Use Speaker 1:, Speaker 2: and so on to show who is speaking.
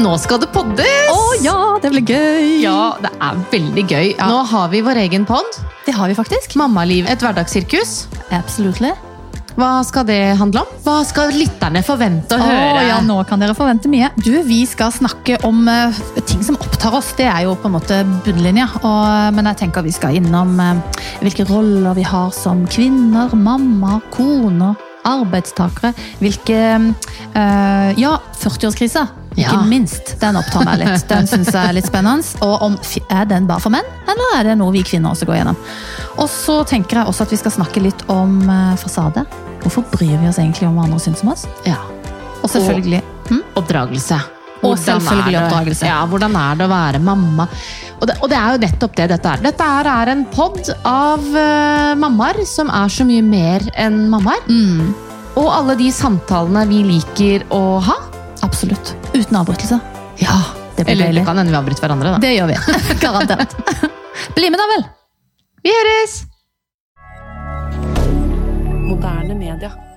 Speaker 1: Nå skal det poddes!
Speaker 2: Å ja, det blir gøy!
Speaker 1: Ja, det er veldig gøy.
Speaker 2: Ja.
Speaker 1: Nå har vi vår egen pod.
Speaker 2: Det har vi faktisk.
Speaker 1: Mammaliv, et hverdagssirkus.
Speaker 2: Absolutely.
Speaker 1: Hva skal det handle om? Hva skal lytterne forvente å
Speaker 2: Å
Speaker 1: høre?
Speaker 2: ja, nå kan dere forvente mye. Du, vi skal snakke om eh, ting som opptar oss. Det er jo på en måte bunnlinja. Og, eh, men jeg tenker vi skal innom eh, hvilke roller vi har som kvinner, mamma, koner, arbeidstakere. Hvilke eh, Ja, 40-årskrisa.
Speaker 1: Ja.
Speaker 2: Ikke minst. Den opptar meg litt. Den synes jeg er litt spennende. Og om, fi- er den bare for menn, eller er det noe vi kvinner også går gjennom? Og så tenker jeg også at vi skal snakke litt om eh, fasade. Hvorfor bryr vi oss egentlig om hva andre syns om oss?
Speaker 1: Ja.
Speaker 2: Og selvfølgelig hm?
Speaker 1: Oppdragelse.
Speaker 2: Og
Speaker 1: Hvordan er
Speaker 2: selvfølgelig
Speaker 1: det-
Speaker 2: oppdragelse.
Speaker 1: Ja, hvordan er det å være mamma? Og det, og det er jo nettopp det dette er. Dette her er en pod av eh, mammaer som er så mye mer enn mammaer.
Speaker 2: Mm.
Speaker 1: Og alle de samtalene vi liker å ha.
Speaker 2: Absolutt. Uten avbrytelser.
Speaker 1: Ja,
Speaker 2: det blir
Speaker 1: Eller
Speaker 2: deilig.
Speaker 1: det kan hende vi avbryter hverandre, da.
Speaker 2: Det gjør vi. Garantert. Bli med, da vel!
Speaker 1: Vi høres!
Speaker 3: Moderne media.